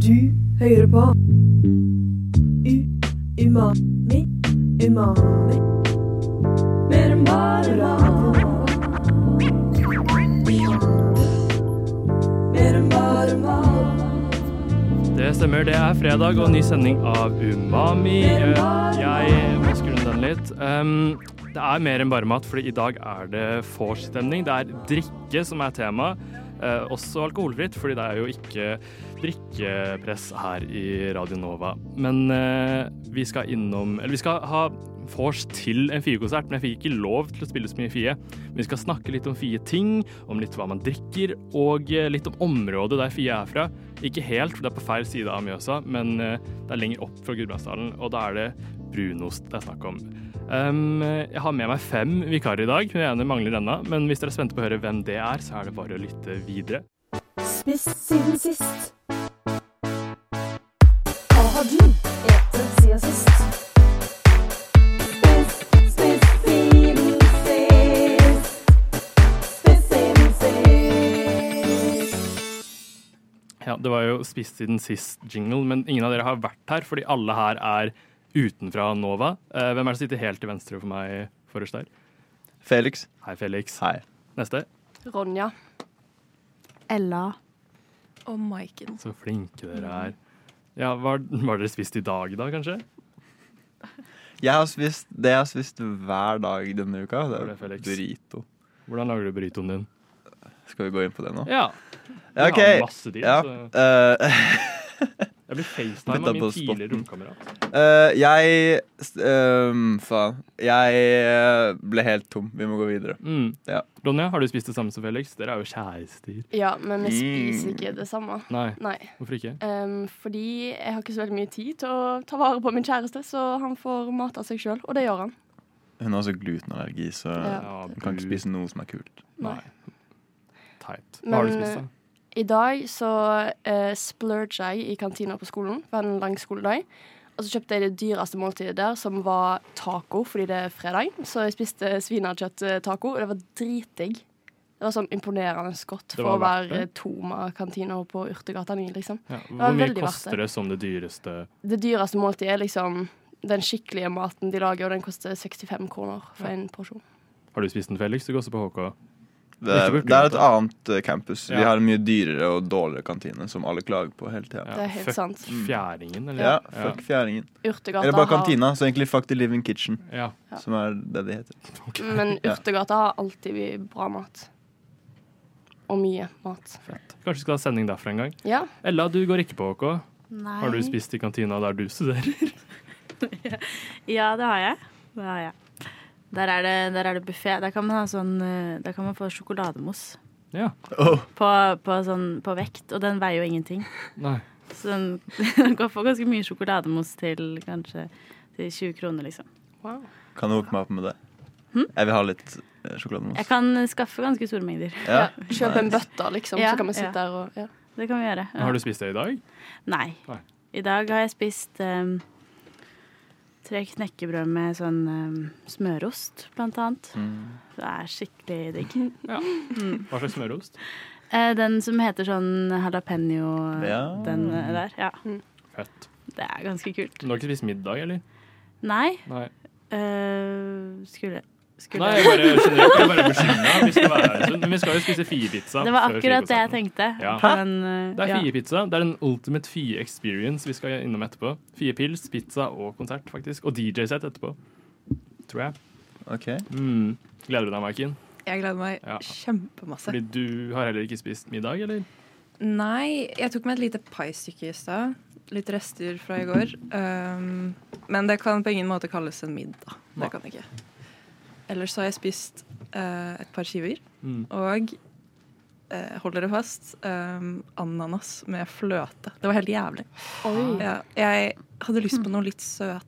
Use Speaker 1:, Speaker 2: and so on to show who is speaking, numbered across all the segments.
Speaker 1: Du hører på U-umami. Umami. Mer enn bare mat. Mer enn bare mat.
Speaker 2: Det stemmer, det er fredag og ny sending av Umami. Eh, Jeg vasker unna den litt. Um, det er mer enn bare mat, for i dag er det vorstemning. Det er drikke som er tema, eh, også alkoholfritt, fordi det er jo ikke drikkepress her i Radio Nova. Men eh, vi skal innom Eller vi skal ha vors til en Fie-konsert, men jeg fikk ikke lov til å spille så mye Fie. Vi skal snakke litt om Fie-ting, om litt hva man drikker, og eh, litt om området der Fie er fra. Ikke helt, for det er på feil side av Mjøsa, men eh, det er lenger opp fra Gudbrandsdalen, og da er det brunost det er snakk om. Ehm, jeg har med meg fem vikarer i dag, den ene mangler ennå, men hvis dere er spente på å høre hvem det er, så er det bare å lytte videre.
Speaker 1: Spist siden sist. Hva har du etet siden sist? Spist, spist siden sist. Spist siden sist.
Speaker 2: Ja, det var jo spist siden sist jingle, men ingen av dere har vært her, fordi alle her er utenfra Nova. Eh, hvem er det som sitter helt til venstre for meg forrest der?
Speaker 3: Felix.
Speaker 2: Hei, Felix.
Speaker 3: Hei.
Speaker 2: Neste.
Speaker 4: Ronja.
Speaker 5: Ella.
Speaker 4: Og Maiken.
Speaker 2: Så flinke dere er. Ja, Hva har dere spist i dag, da, kanskje?
Speaker 3: Jeg har spist det jeg har spist hver dag denne uka. Det
Speaker 2: Var det
Speaker 3: er
Speaker 2: Felix?
Speaker 3: burrito.
Speaker 2: Hvordan lager du burritoen din?
Speaker 3: Skal vi gå inn på det nå?
Speaker 2: Ja, vi
Speaker 3: Ja, ok.
Speaker 2: har masse tid,
Speaker 3: Ja.
Speaker 2: så
Speaker 3: eh,
Speaker 2: jeg blir FaceTime
Speaker 3: Litt av
Speaker 2: av min
Speaker 3: på spotten.
Speaker 2: tidligere romkamerat.
Speaker 3: eh, jeg s- ehm, Faen. Jeg eh, ble helt tom. Vi må gå videre.
Speaker 2: Mm.
Speaker 3: Ja.
Speaker 2: Ronja, har du spist det samme som Felix? Dere er jo kjærester.
Speaker 4: Ja, men jeg spiser
Speaker 3: Mm.
Speaker 4: ikke det samme.
Speaker 2: Nei,
Speaker 4: Nei.
Speaker 2: hvorfor ikke?
Speaker 4: Ehm, fordi jeg har ikke så veldig mye tid til å ta vare på min kjæreste, så han får mat av seg sjøl, og det gjør han.
Speaker 3: Hun har også glutenallergi, så
Speaker 4: Ja.
Speaker 3: hun kan ikke
Speaker 2: du-
Speaker 3: spise noe som er kult.
Speaker 4: Nei.
Speaker 2: Nei. Teit. Hva har du
Speaker 4: Men,
Speaker 2: spist, da?
Speaker 4: I dag så uh, splurga jeg i kantina på skolen, for en lang skoledag. Og så kjøpte jeg det dyreste måltidet der, som var taco, fordi det er fredag. Så jeg spiste svinekjøtt-taco, og det var dritdigg. Det var sånn imponerende godt for
Speaker 2: var
Speaker 4: å
Speaker 2: verdt
Speaker 4: være toma kantina på Urtegata 9, liksom.
Speaker 2: Ja,
Speaker 4: var
Speaker 2: hvor mye
Speaker 4: veldig verdt
Speaker 2: koster
Speaker 4: det.
Speaker 2: det som det dyreste?
Speaker 4: Det dyreste måltidet er liksom den skikkelige maten de lager, og den koster 65 kroner for en porsjon.
Speaker 2: Har du spist den, Felix? Du går også på HK.
Speaker 3: Det,
Speaker 2: Ikke
Speaker 3: er-
Speaker 2: burrito,
Speaker 3: det er et
Speaker 2: da.
Speaker 3: annet eh, campus. Vi
Speaker 2: Ja.
Speaker 3: har en mye dyrere og dårligere kantine som alle klager på hele tida.
Speaker 4: Det er helt
Speaker 2: fuck
Speaker 4: sant.
Speaker 2: Fjæringen, eller?
Speaker 3: Mm. Ja, fuck fjæringen.
Speaker 4: Urtegata
Speaker 3: Eller bare kantina. Så egentlig fuck the living kitchen,
Speaker 2: Ja.
Speaker 4: Ja.
Speaker 3: som er det det heter.
Speaker 4: Har, men
Speaker 3: Ja.
Speaker 4: Urtegata har alltid bra mat. Og mye mat.
Speaker 2: Kanskje vi skal ha sending derfra en gang.
Speaker 4: Ja.
Speaker 2: Ella, du går ikke på HK.
Speaker 5: Nei.
Speaker 2: Har du spist i kantina der du studerer?
Speaker 5: Ja, det har jeg. Det har jeg. Der er det, der er det buffé. Der kan man ha sånn eh, Der kan man få sjokolademousse
Speaker 2: Ja.
Speaker 3: Åh,
Speaker 5: på, på, sånn, på vekt, og den veier jo ingenting.
Speaker 2: Nei.
Speaker 5: Så den, den kan få ganske mye sjokolademousse til kanskje til 20 kroner, liksom.
Speaker 4: Wow.
Speaker 3: Kan du hooke meg opp med det? Jeg vil ha litt eh, sjokolademousse.
Speaker 5: Jeg kan skaffe ganske store mengder.
Speaker 4: Ja.
Speaker 3: Ja.
Speaker 4: Kjøp en bøtte, liksom,
Speaker 5: Ja,
Speaker 4: så kan vi sitte
Speaker 5: ja.
Speaker 4: der og ja.
Speaker 5: Det kan vi gjøre.
Speaker 2: Men Har du spist det i dag?
Speaker 5: Nei.
Speaker 2: Nei.
Speaker 5: I dag har jeg spist eh, tre knekkebrød med sånn eh, smørost, blant annet.
Speaker 2: Mm.
Speaker 5: Det er skikkelig digg.
Speaker 2: Ja. Hva slags smørost?
Speaker 5: Eh, Den som heter sånn jalapeño
Speaker 3: Ja.
Speaker 5: den eh, der. Ja,
Speaker 2: Fett.
Speaker 5: det er ganske kult.
Speaker 2: Men Du har ikke spist middag, eller?
Speaker 5: Nei,
Speaker 2: Nei.
Speaker 5: eh, skulle, skulle
Speaker 2: Nei, jeg bare generelt. Jeg bare bekymra. Vi skal være sunn. Men vi skal jo spise fiepizza.
Speaker 5: Det var
Speaker 2: før
Speaker 5: akkurat det jeg
Speaker 2: fiekonserten.
Speaker 5: tenkte.
Speaker 2: Ja.
Speaker 5: Men, eh,
Speaker 2: Det er
Speaker 5: ja.
Speaker 2: fiepizza. Det er en ultimate fie experience vi skal innom etterpå. Fiepils, pizza og konsert, faktisk. Og DJ-sett etterpå. Tror jeg.
Speaker 3: Ok.
Speaker 2: Mm. Gleder du deg, Maiken?
Speaker 6: Jeg gleder meg
Speaker 2: Ja.
Speaker 6: kjempemasse.
Speaker 2: Fordi du har heller ikke spist middag, eller?
Speaker 6: Nei, jeg tok meg et lite paistykke i stad. Litt rester fra i går. Um, men det kan på ingen måte kalles en middag.
Speaker 2: Nei.
Speaker 6: Det kan det ikke. Ellers så har jeg spist eh, et par skiver
Speaker 2: Mm.
Speaker 6: og eh, Hold dere fast. Um, ananas med fløte. Det var helt jævlig. Ja, jeg hadde lyst på noe litt søt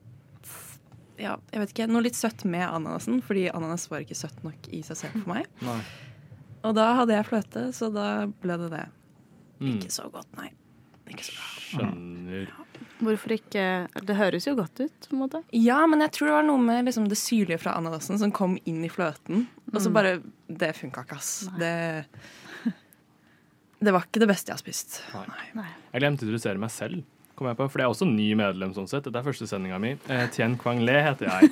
Speaker 6: Ja, jeg vet ikke. Noe litt søtt med ananasen, fordi ananas var ikke søtt nok i seg selv for meg.
Speaker 2: Nei.
Speaker 6: Og da hadde jeg fløte, så da ble det det.
Speaker 2: Mm.
Speaker 6: Ikke så godt, nei. Ikke så bra.
Speaker 2: Skjønner.
Speaker 5: Hvorfor ikke Det høres jo godt ut, på en måte.
Speaker 6: Ja, men jeg tror det var noe med liksom, det syrlige fra ananasen som kom Mm. inn i fløten. Og så bare Det funka ikke, ass. Det Det var ikke det beste jeg har spist.
Speaker 2: Nei.
Speaker 5: Nei.
Speaker 2: Jeg glemte å introdusere meg selv, kom jeg på, for jeg er også ny medlem. sånn sett. Dette er første sendinga mi. Eh, Tien Kwang Le heter jeg.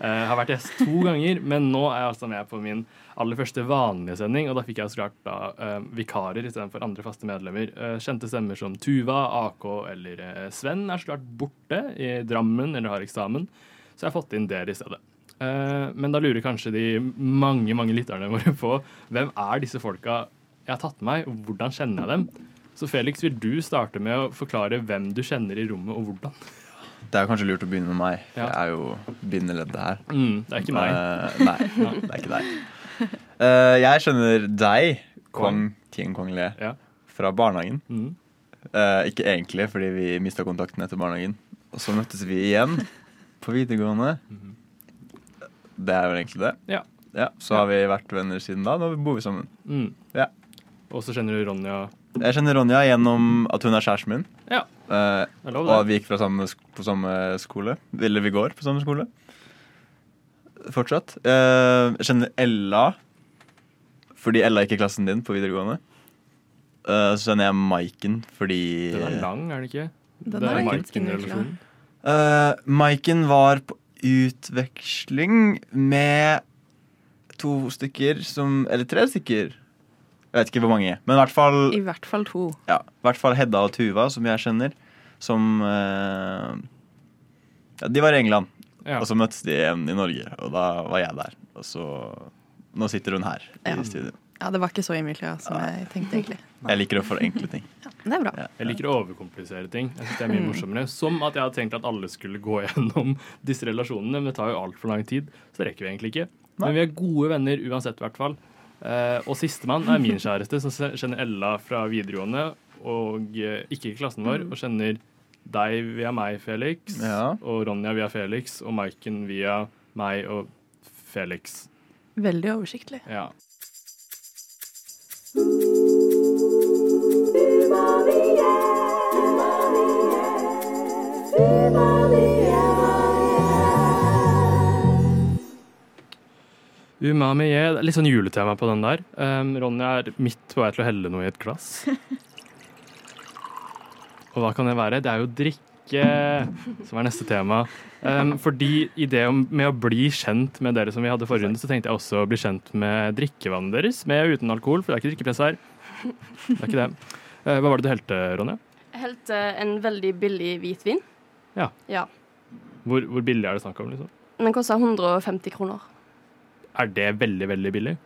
Speaker 2: Eh, har vært gjest to ganger, men nå er jeg altså med på min aller første vanlige sending. Og da fikk jeg så klart da, eh, vikarer istedenfor andre faste medlemmer. Eh, kjente stemmer som Tuva, AK eller eh, Sven er så klart borte i Drammen eller har eksamen, så jeg har fått inn dere i stedet. Eh, men da lurer kanskje de mange mange lytterne våre på hvem er disse folka jeg har tatt med meg, og hvordan kjenner jeg dem? Så Felix, vil du starte med å forklare hvem du kjenner i rommet, og hvordan?
Speaker 3: Det er kanskje lurt å begynne med meg. for
Speaker 2: Ja.
Speaker 3: Jeg er jo bindeleddet her.
Speaker 2: Mm, det er ikke meg.
Speaker 3: Eh, nei, det er ikke deg. Eh, jeg kjenner deg, Kwang Tien Kwang Le,
Speaker 2: Ja.
Speaker 3: fra barnehagen.
Speaker 2: Mm.
Speaker 3: Eh, ikke egentlig, fordi vi mista kontakten etter barnehagen. Og så møttes vi igjen på videregående. Det er vel egentlig det.
Speaker 2: Ja.
Speaker 3: Ja, så har vi vært venner siden da. Nå bor vi sammen.
Speaker 2: Mm.
Speaker 3: Ja.
Speaker 2: Og så kjenner du Ronja.
Speaker 3: Jeg kjenner Ronja gjennom at hun er kjæresten min.
Speaker 2: Ja,
Speaker 3: Eh,
Speaker 2: det er lov,
Speaker 3: og
Speaker 2: det.
Speaker 3: vi gikk fra samme, sk- på samme skole. Eller vi går på samme skole. Fortsatt. Eh, jeg kjenner Ella fordi Ella gikk i klassen din på videregående. Eh, så kjenner jeg Maiken fordi
Speaker 2: Den er lang, er den ikke?
Speaker 6: Den
Speaker 2: det
Speaker 6: er
Speaker 2: er
Speaker 6: ganske
Speaker 2: Maiken-relasjonen.
Speaker 3: Eh, Maiken var på utveksling med to stykker som Eller tre stykker. Jeg vet ikke hvor mange. Men i hvert fall,
Speaker 6: I hvert fall to.
Speaker 3: ja, i hvert fall Hedda og Tuva, som jeg kjenner, som eh, ja, De var i England,
Speaker 2: Ja.
Speaker 3: og så møttes de igjen i Norge, og da var jeg der. Og så Nå sitter hun her i
Speaker 6: Ja.
Speaker 3: studio.
Speaker 6: Ja, det var ikke så Emilia som jeg tenkte, egentlig.
Speaker 3: Jeg liker å forenkle ting.
Speaker 6: Men det er bra.
Speaker 3: Ja.
Speaker 2: Jeg liker å overkomplisere ting. Jeg synes det er mye morsommere. Som at jeg hadde tenkt at alle skulle gå gjennom disse relasjonene, men det tar jo altfor lang tid, så det rekker vi egentlig ikke. Men vi er gode venner uansett, i hvert fall. Eh, og sistemann er min kjæreste, som se- kjenner Ella fra videregående, og eh, ikke i klassen vår, og kjenner deg via meg, Felix,
Speaker 3: Ja.
Speaker 2: og Ronja via Felix, og Maiken via meg og Felix.
Speaker 6: Veldig oversiktlig.
Speaker 2: Ja. Umami ye. Det er Litt sånn juletema på den der. Um, Ronja er midt på vei til å helle noe i et glass. Og hva kan det være? Det er jo drikke som er neste tema. Um, fordi i det om- med å bli kjent med dere som vi hadde forrige runde, så tenkte jeg også å bli kjent med drikkevannet deres, med og uten alkohol, for det er ikke drikkepress her. Det er ikke det. Eh, hva var det du helte, Ronja?
Speaker 4: Jeg helte eh, en veldig billig hvitvin.
Speaker 2: Ja.
Speaker 4: ja.
Speaker 2: Hvor, hvor billig er det snakk om? liksom?
Speaker 4: Den koster 150 kroner.
Speaker 2: Er det veldig, veldig billig?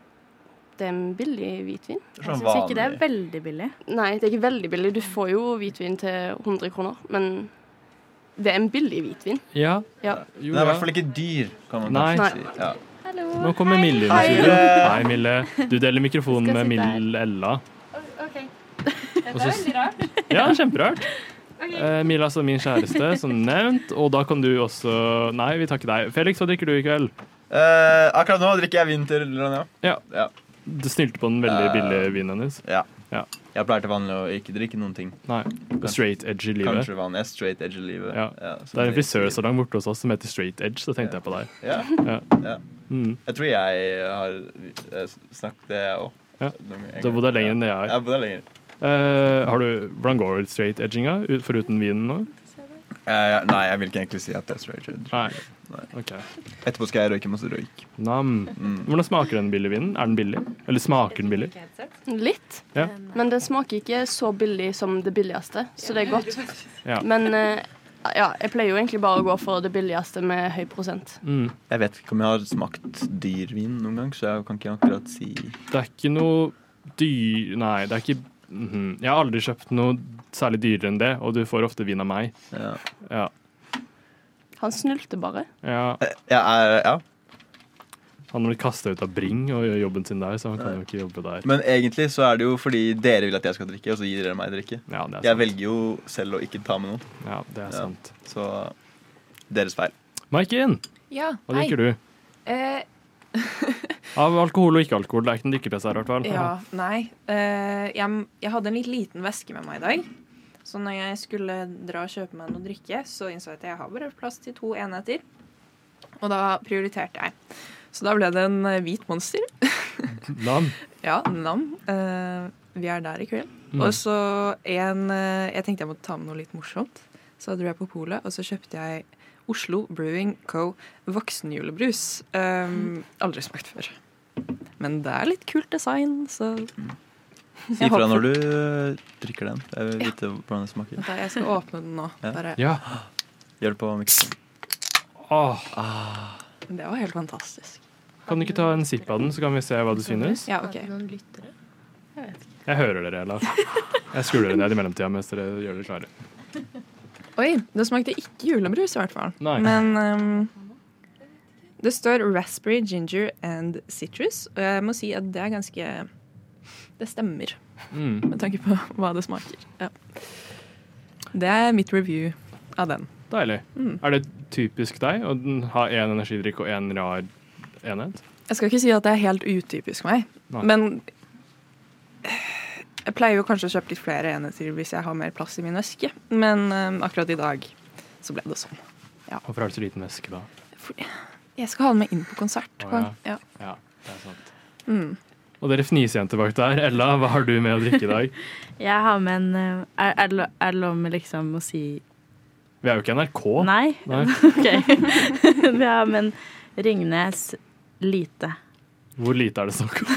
Speaker 4: Det er en billig hvitvin.
Speaker 5: Jeg
Speaker 3: sånn
Speaker 5: syns ikke det er sånn veldig billig.
Speaker 4: Nei, det er ikke veldig billig. Du får jo hvitvin til 100 kroner, men det er en billig hvitvin.
Speaker 2: Ja.
Speaker 4: Ja.
Speaker 2: Jo,
Speaker 3: Den er i
Speaker 2: ja.
Speaker 3: hvert fall ikke dyr, kan man
Speaker 2: Nei.
Speaker 3: kanskje si. Ja.
Speaker 2: Nå kommer Mille inn i
Speaker 3: Hei,
Speaker 2: studio.
Speaker 3: Mille.
Speaker 2: Hei, Mille. Du deler mikrofonen
Speaker 5: Skal
Speaker 2: med
Speaker 5: jeg sitte her?
Speaker 2: Mill Ella.
Speaker 4: OK.
Speaker 2: Og så- Ja, kjemperart. Eh, Mille er altså min kjæreste, som nevnt. Og da kan du også Nei, vi takker deg. Felix, hva drikker du i kveld?
Speaker 3: Eh, akkurat nå drikker jeg vin til Ronja.
Speaker 2: Ja.
Speaker 3: Ja.
Speaker 2: Du snylte på den veldig
Speaker 3: Eh.
Speaker 2: billige vinen hennes.
Speaker 3: Ja.
Speaker 2: Ja.
Speaker 3: Jeg pleier til vanlig å ikke drikke noen ting.
Speaker 2: Nei. Straight edge i livet.
Speaker 3: Kanskje vanlig. Jeg er straight edge i livet.
Speaker 2: Ja.
Speaker 3: så
Speaker 2: Det er en frisørsalong borte hos oss som heter Straight Edge, så tenkte jeg på deg.
Speaker 3: Ja.
Speaker 2: Mm.
Speaker 3: Jeg tror jeg har eh, snakket det òg.
Speaker 2: Ja. Du har bodd der lenger enn det jeg har.
Speaker 3: Jeg har bodd der lenger.
Speaker 2: Eh, har du, hvordan går straight edginga, ut- foruten vinen nå?
Speaker 3: Eh, nei, jeg vil ikke egentlig si at det er straight edge.
Speaker 2: Nei.
Speaker 3: Nei.
Speaker 2: Ok.
Speaker 3: Etterpå skal jeg røyke masse røyk.
Speaker 2: Nam. Hvordan smaker den billige vinen? Er den billig? Eller smaker den billig?
Speaker 4: Litt.
Speaker 2: Ja.
Speaker 4: Men den smaker ikke så billig som det billigste, så det er godt.
Speaker 2: Ja.
Speaker 4: Men eh, ja, jeg pleier jo egentlig bare å gå for det billigste med høy prosent.
Speaker 2: Mm.
Speaker 3: Jeg vet ikke om jeg har smakt dyr vin noen gang, så jeg kan ikke akkurat si
Speaker 2: Det er ikke noe dyr... Nei, det er ikke Mhm. Jeg har aldri kjøpt noe særlig dyrere enn det, og du får ofte vin av meg.
Speaker 3: Ja.
Speaker 2: Ja.
Speaker 4: Han snulte bare.
Speaker 2: ja.
Speaker 3: Jeg er, ja.
Speaker 2: Han har blitt kasta ut av Bring og gjør jobben sin der, så han kan jo ikke jobbe der.
Speaker 3: Men egentlig så er det jo fordi dere vil at jeg skal drikke, og så gir dere meg drikke.
Speaker 2: Ja, det er
Speaker 3: Jeg
Speaker 2: sant.
Speaker 3: velger jo selv å ikke ta med noen,
Speaker 2: Ja, det er sant.
Speaker 3: så deres feil.
Speaker 2: Maiken,
Speaker 6: Ja, eh,
Speaker 2: hva drikker du? Av alkohol og ikke-alkohol. Det er ikke noen drikkepress her, i hvert fall.
Speaker 6: Ja, nei. Eh, jeg, jeg hadde en litt liten veske med meg i dag. Så når jeg skulle dra og kjøpe meg noe drikke, så innså jeg at jeg har bare plass til to enheter. Og da prioriterte jeg. Så da ble det en eh, hvit monster.
Speaker 2: Nam.
Speaker 6: Ja, nam. Eh, vi er der i kveld.
Speaker 3: Mm.
Speaker 6: Og så en eh, Jeg tenkte jeg måtte ta med noe litt morsomt. Så dro jeg på polet, og så kjøpte jeg Oslo Brewing Co. voksenjulebrus.
Speaker 3: Mm.
Speaker 6: Um, aldri smakt før. Men det er litt kult design, så
Speaker 3: Mm. Si fra når du øh, drikker den. Jeg vil vite hvordan det smaker.
Speaker 6: Vent da, jeg skal åpne den nå.
Speaker 3: Ja.
Speaker 6: Bare.
Speaker 2: Ja.
Speaker 3: Gjør det på mikrofonen.
Speaker 2: Åh,
Speaker 6: Det var helt fantastisk.
Speaker 2: kan du ikke ta en sipp av den, så kan vi se hva du synes?
Speaker 6: Sånn, Ja, ok.
Speaker 7: noen lyttere?
Speaker 2: Jeg hører dere, Ella. Jeg skuler ned i mellomtida mens dere gjør dere klare.
Speaker 6: Oi, det smakte ikke julebrus i hvert fall.
Speaker 2: Nei.
Speaker 6: Men ehm, det står raspberry, ginger and citrus. Og jeg må si at det er ganske Det stemmer
Speaker 2: Mm,
Speaker 6: med tanke på hva det smaker. Ja. Det er mitt review av den.
Speaker 2: deilig.
Speaker 6: Mm.
Speaker 2: Er det typisk deg å ha én energidrikk og én rar enhet?
Speaker 6: Jeg skal ikke si at det er helt utypisk meg,
Speaker 2: Nei.
Speaker 6: men eh, jeg pleier jo kanskje å kjøpe litt flere enheter hvis jeg har mer plass i min veske, men ehm, akkurat i dag så ble det sånn.
Speaker 2: Hvorfor har du så liten veske, da?
Speaker 6: Jeg skal ha den med inn på konsert.
Speaker 2: Å,
Speaker 6: på- Ja.
Speaker 2: Ja, det er sant.
Speaker 6: Mm.
Speaker 2: Og dere fnisejenter bak der, Ella, hva har du med å drikke i dag?
Speaker 5: Jeg har med en eh, Er, er, det lo- er det lov med liksom å si
Speaker 2: Vi er jo ikke NRK.
Speaker 5: Nei?
Speaker 2: Nei.
Speaker 5: OK. Vi har med en Ringnes lite.
Speaker 2: Hvor lite er det snakk om?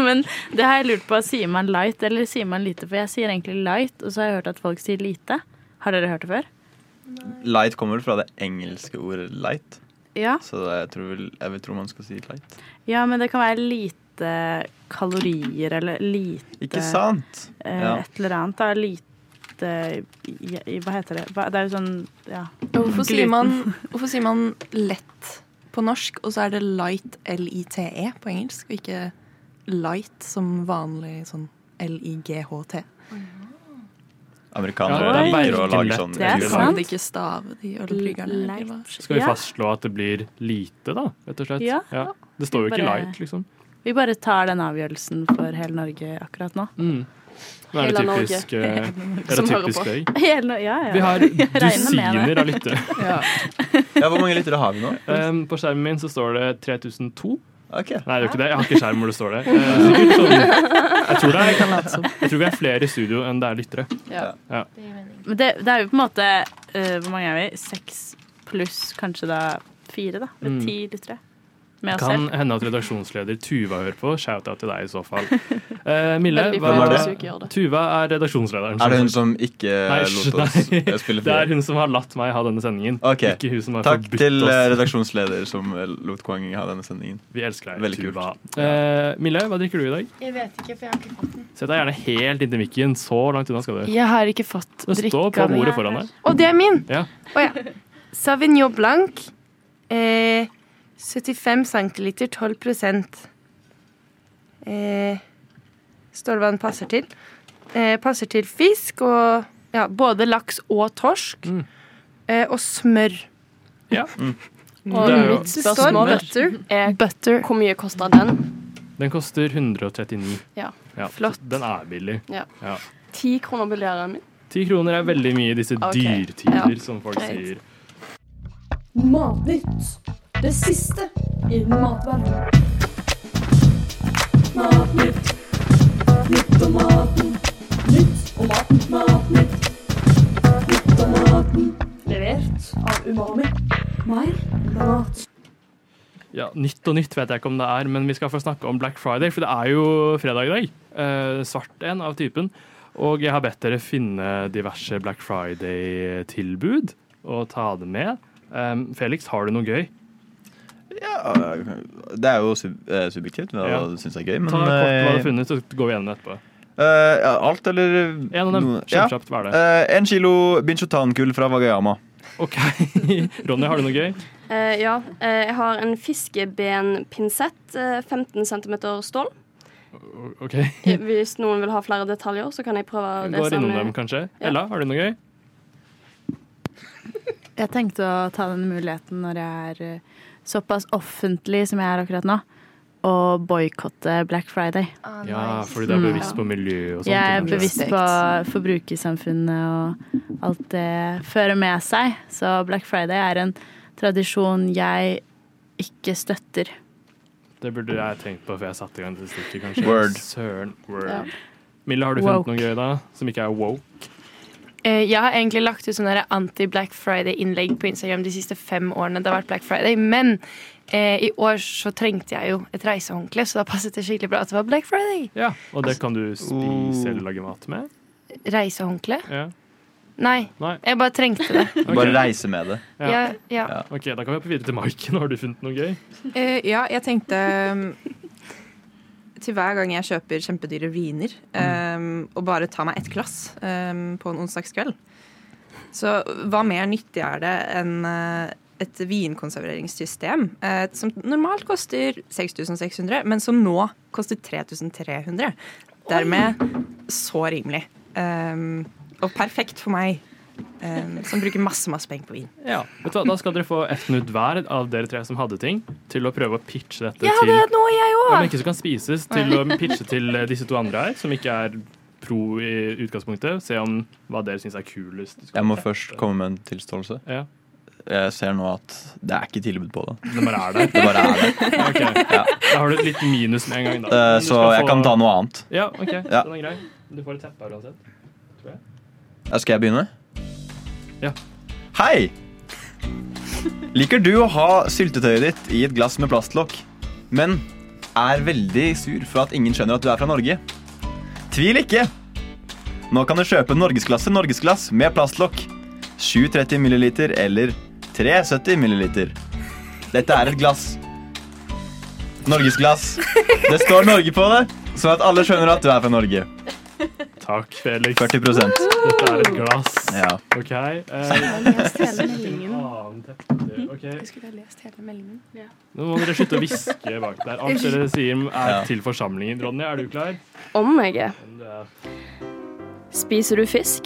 Speaker 5: Men det har jeg lurt på. Sier man light eller sier man lite? For jeg sier egentlig light, og så har jeg hørt at folk sier lite. Har dere hørt det før?
Speaker 3: Light kommer fra det engelske ordet light,
Speaker 5: Ja.
Speaker 3: så det- jeg tror, vel, jeg vil tro man skal si light.
Speaker 5: Ja, men det kan være lite kalorier eller lite
Speaker 3: Ikke sant?
Speaker 5: eh,
Speaker 3: Ja.
Speaker 5: Et eller annet. Da. Lite i- i- Hva heter det? Hva- Det er jo sånn Ja.
Speaker 6: Hvorfor, sier
Speaker 5: Gluten.
Speaker 6: man, hvorfor sier man lett på norsk, og så er det light, L-I-T-E, E, på engelsk, og ikke light som vanlig sånn L-I-G-H-T?
Speaker 3: Amerikanere
Speaker 2: Ja, det er
Speaker 3: liker å
Speaker 2: veldig
Speaker 3: lage sånn
Speaker 5: lett. Det er
Speaker 6: De
Speaker 5: sant.
Speaker 6: kan ikke stave de ølbryggerne. eller hva?
Speaker 2: Skal vi
Speaker 5: Ja.
Speaker 2: fastslå at det blir lite, da? Rett og slett.
Speaker 5: Ja.
Speaker 2: Det står jo ikke
Speaker 5: Bare-
Speaker 2: light, liksom.
Speaker 5: Vi bare tar den avgjørelsen for hele Norge akkurat nå.
Speaker 2: Mm. Men er det
Speaker 4: Hele Norge.
Speaker 2: typisk, eh, er det
Speaker 4: Som hører
Speaker 2: typisk
Speaker 4: på.
Speaker 2: deg?
Speaker 5: Hele, Nor- ja, ja.
Speaker 2: Mm. Vi har
Speaker 5: Jeg regner med det.
Speaker 2: dusiner av lyttere.
Speaker 3: Ja, Hvor mange lyttere har vi nå?
Speaker 2: Um, på skjermen min så står det 3002.
Speaker 3: Ok,
Speaker 2: Nei, det er jo ikke det. Jeg har ikke skjerm hvor det står det. Eh, sikkert sånn. Jeg tror det er, jeg tror vi er flere i studio enn det er lyttere.
Speaker 7: Det gir mening.
Speaker 5: Men det, det er jo på en måte eh, Hvor mange er vi? Seks pluss kanskje da fire, da. Eller
Speaker 2: Mm.
Speaker 5: ti lyttere. Med oss
Speaker 2: Kan
Speaker 5: selv.
Speaker 2: hende at redaksjonsleder Tuva hører på. Shout-out til deg i så fall. Eh, Mille, hva
Speaker 3: Hvem er
Speaker 4: Veldig
Speaker 3: det?
Speaker 4: flott hvis du ikke gjør det.
Speaker 2: Tuva er redaksjonslederen.
Speaker 3: Er det hun som ikke
Speaker 2: Nei,
Speaker 3: lot oss
Speaker 2: nei.
Speaker 3: eh, spille
Speaker 2: Det er
Speaker 3: fri?
Speaker 2: hun som har latt meg ha denne sendingen.
Speaker 3: Ok.
Speaker 2: Ikke hun som har
Speaker 3: Takk
Speaker 2: forbudt
Speaker 3: til eh,
Speaker 2: oss.
Speaker 3: redaksjonsleder som eh, lot Kwang ha denne sendingen.
Speaker 2: Vi elsker deg,
Speaker 3: Veldig kult.
Speaker 2: Tuva. Eh, Mille, hva drikker du i dag?
Speaker 7: Jeg vet ikke, for jeg har ikke fått den.
Speaker 2: Sett deg gjerne helt inntil mikken. Så langt unna skal du.
Speaker 8: Jeg har ikke fått
Speaker 2: Det står
Speaker 8: drikka
Speaker 2: på
Speaker 8: mi.
Speaker 2: bordet foran deg.
Speaker 8: Og det er min!
Speaker 2: Ja.
Speaker 8: Å ja. Savignon Blanc. Eh, 75 cl, 12 eh, Stålvann passer til. Eh, passer til fisk og ja, både laks og torsk.
Speaker 2: Mm.
Speaker 8: Eh, og smør.
Speaker 2: Det er
Speaker 4: Og
Speaker 2: jo-
Speaker 4: mitt
Speaker 8: Det står
Speaker 4: spørsmål
Speaker 8: butter.
Speaker 4: er
Speaker 8: Butter.
Speaker 4: hvor mye kosta den?
Speaker 2: Den koster 139.
Speaker 4: Ja.
Speaker 8: Flott.
Speaker 2: Den er billig.
Speaker 4: Ti kroner billigere enn min.
Speaker 2: Ti kroner er veldig mye i disse
Speaker 4: Ok,
Speaker 2: dyrtider,
Speaker 4: ja.
Speaker 2: som folk sier.
Speaker 4: Greit.
Speaker 1: Matnytt. Det siste innen matverdenen. Matnytt. Nytt om maten. Nytt om maten. Matnytt. Nytt om maten. Levert av Umami. Mer mat.
Speaker 2: Ja, Nytt og nytt vet jeg ikke om det er, men vi skal få snakke om Black Friday, for det er jo fredag i dag. Eh, svart en av typen. Og jeg har bedt dere finne diverse Black Friday-tilbud og ta det med. Em, Felix, har du noe gøy?
Speaker 3: Ja, eh, det er jo sub eh, subjektivt hva
Speaker 2: Ja.
Speaker 3: du syns er gøy, men
Speaker 2: Ta kort hva du har
Speaker 3: eh,
Speaker 2: funnet, så går vi gjennom det etterpå.
Speaker 3: eh, ja, Alt, eller
Speaker 2: En av dem.
Speaker 3: noe- Ja.
Speaker 2: Kjempekjapt, hva er det?
Speaker 3: Eh, en kilo binchotankull fra Wagayama.
Speaker 2: OK. Ronny, har du noe gøy?
Speaker 4: Eh, ja, eh, jeg har en fiskebenpinsett. eh, 15 cm stål.
Speaker 2: OK.
Speaker 4: Eh, Hvis noen vil ha flere detaljer, så kan jeg prøve det
Speaker 2: Går
Speaker 4: som
Speaker 2: innom dem, kanskje.
Speaker 4: ja.
Speaker 2: Ella, har du noe gøy?
Speaker 5: Jeg tenkte å ta den muligheten når jeg er eh, såpass offentlig som jeg er akkurat nå, og boikotte Black Friday.
Speaker 6: Sånn
Speaker 7: Ah,
Speaker 2: Ja,
Speaker 7: nice.
Speaker 2: fordi du er
Speaker 5: Mm.
Speaker 2: bevisst på miljø og sånt.
Speaker 5: Jeg er
Speaker 2: kanskje?
Speaker 5: bevisst på forbrukersamfunnet og alt det fører med seg, så Black Friday er en tradisjon jeg ikke støtter.
Speaker 2: Det burde jeg tenkt på før jeg satte i gang det stikket, kanskje.
Speaker 3: Word.
Speaker 2: Søren. Word.
Speaker 4: Ja.
Speaker 2: Mille, har du
Speaker 8: Woke.
Speaker 2: funnet noe gøy da, som ikke er woke?
Speaker 7: Eh, Jeg har egentlig lagt ut sånne der anti-Black Friday-innlegg på Instagram de siste fem årene. det har vært Black Friday, Men eh, i år så trengte jeg jo et reisehåndkle, så da passet det skikkelig bra at det var Black Friday.
Speaker 2: Ja, og det kan du spise
Speaker 3: Oh.
Speaker 2: eller lage mat med?
Speaker 7: Reisehåndkle?
Speaker 2: Ja.
Speaker 7: Nei,
Speaker 2: Nei.
Speaker 7: jeg bare trengte det.
Speaker 2: Ok.
Speaker 3: Bare reise med det.
Speaker 2: Ja.
Speaker 7: Ja, ja.
Speaker 2: Ok, Da kan vi hoppe videre til Maiken. Har du funnet noe gøy?
Speaker 6: Eh, ja, jeg tenkte um, Til hver gang jeg kjøper kjempedyre viner um, og bare tar meg ett glass um, på en onsdagskveld, så hva mer nyttig er det enn eh, et vinkonserveringssystem eh, som normalt koster 6600, men som nå koster 3300. Dermed så rimelig. Um, og perfekt for meg, um, som bruker masse, masse penger på vin.
Speaker 2: Ja. Vet du hva, Da skal dere få ett minutt hver av dere tre som hadde ting, til å prøve å pitche dette
Speaker 7: Jeg
Speaker 2: til
Speaker 7: hadde hatt noe, jeg
Speaker 2: Ja, men
Speaker 7: òg!
Speaker 2: ikke som kan spises, til å pitche til eh, disse to andre her, som ikke er pro i utgangspunktet. Se om hva dere syns er kulest.
Speaker 3: Jeg må først komme med en tilståelse.
Speaker 2: Ja.
Speaker 3: Jeg ser nå at det er ikke tilbud på det.
Speaker 2: Det bare er der.
Speaker 3: Det bare er det.
Speaker 2: Ok, Da har du et litt minus med en gang, da.
Speaker 3: Eh,
Speaker 2: Men du
Speaker 3: Så
Speaker 2: skal
Speaker 3: jeg
Speaker 2: få-
Speaker 3: kan ta noe annet.
Speaker 2: Ja, OK.
Speaker 3: Ja.
Speaker 2: Den er grei. Du får et teppe her uansett.
Speaker 3: Ja, Skal jeg begynne?
Speaker 2: Ja.
Speaker 3: Hei! Liker du å ha syltetøyet ditt i et glass med plastlokk, men er veldig sur for at ingen skjønner at du er fra Norge? Tvil ikke! Nå kan du kjøpe norgesklasse norgesglass med plastlokk. 730 ml eller 370 ml. Dette er et glass. Norgesglass. Det står Norge på det, sånn at alle skjønner at du er fra Norge.
Speaker 2: Takk, Felix.
Speaker 3: 40
Speaker 2: Dette er et glass.
Speaker 3: Ja.
Speaker 2: OK. eh, annen teppe. Ok,
Speaker 7: Jeg skulle ha lest hele meldingen.
Speaker 2: Nå må dere slutte å hviske bak der. Alt dere sier, er
Speaker 3: Ja.
Speaker 2: til forsamlingen. Ronny, er du klar?
Speaker 4: Om jeg er.
Speaker 2: Du er-
Speaker 4: Spiser du fisk?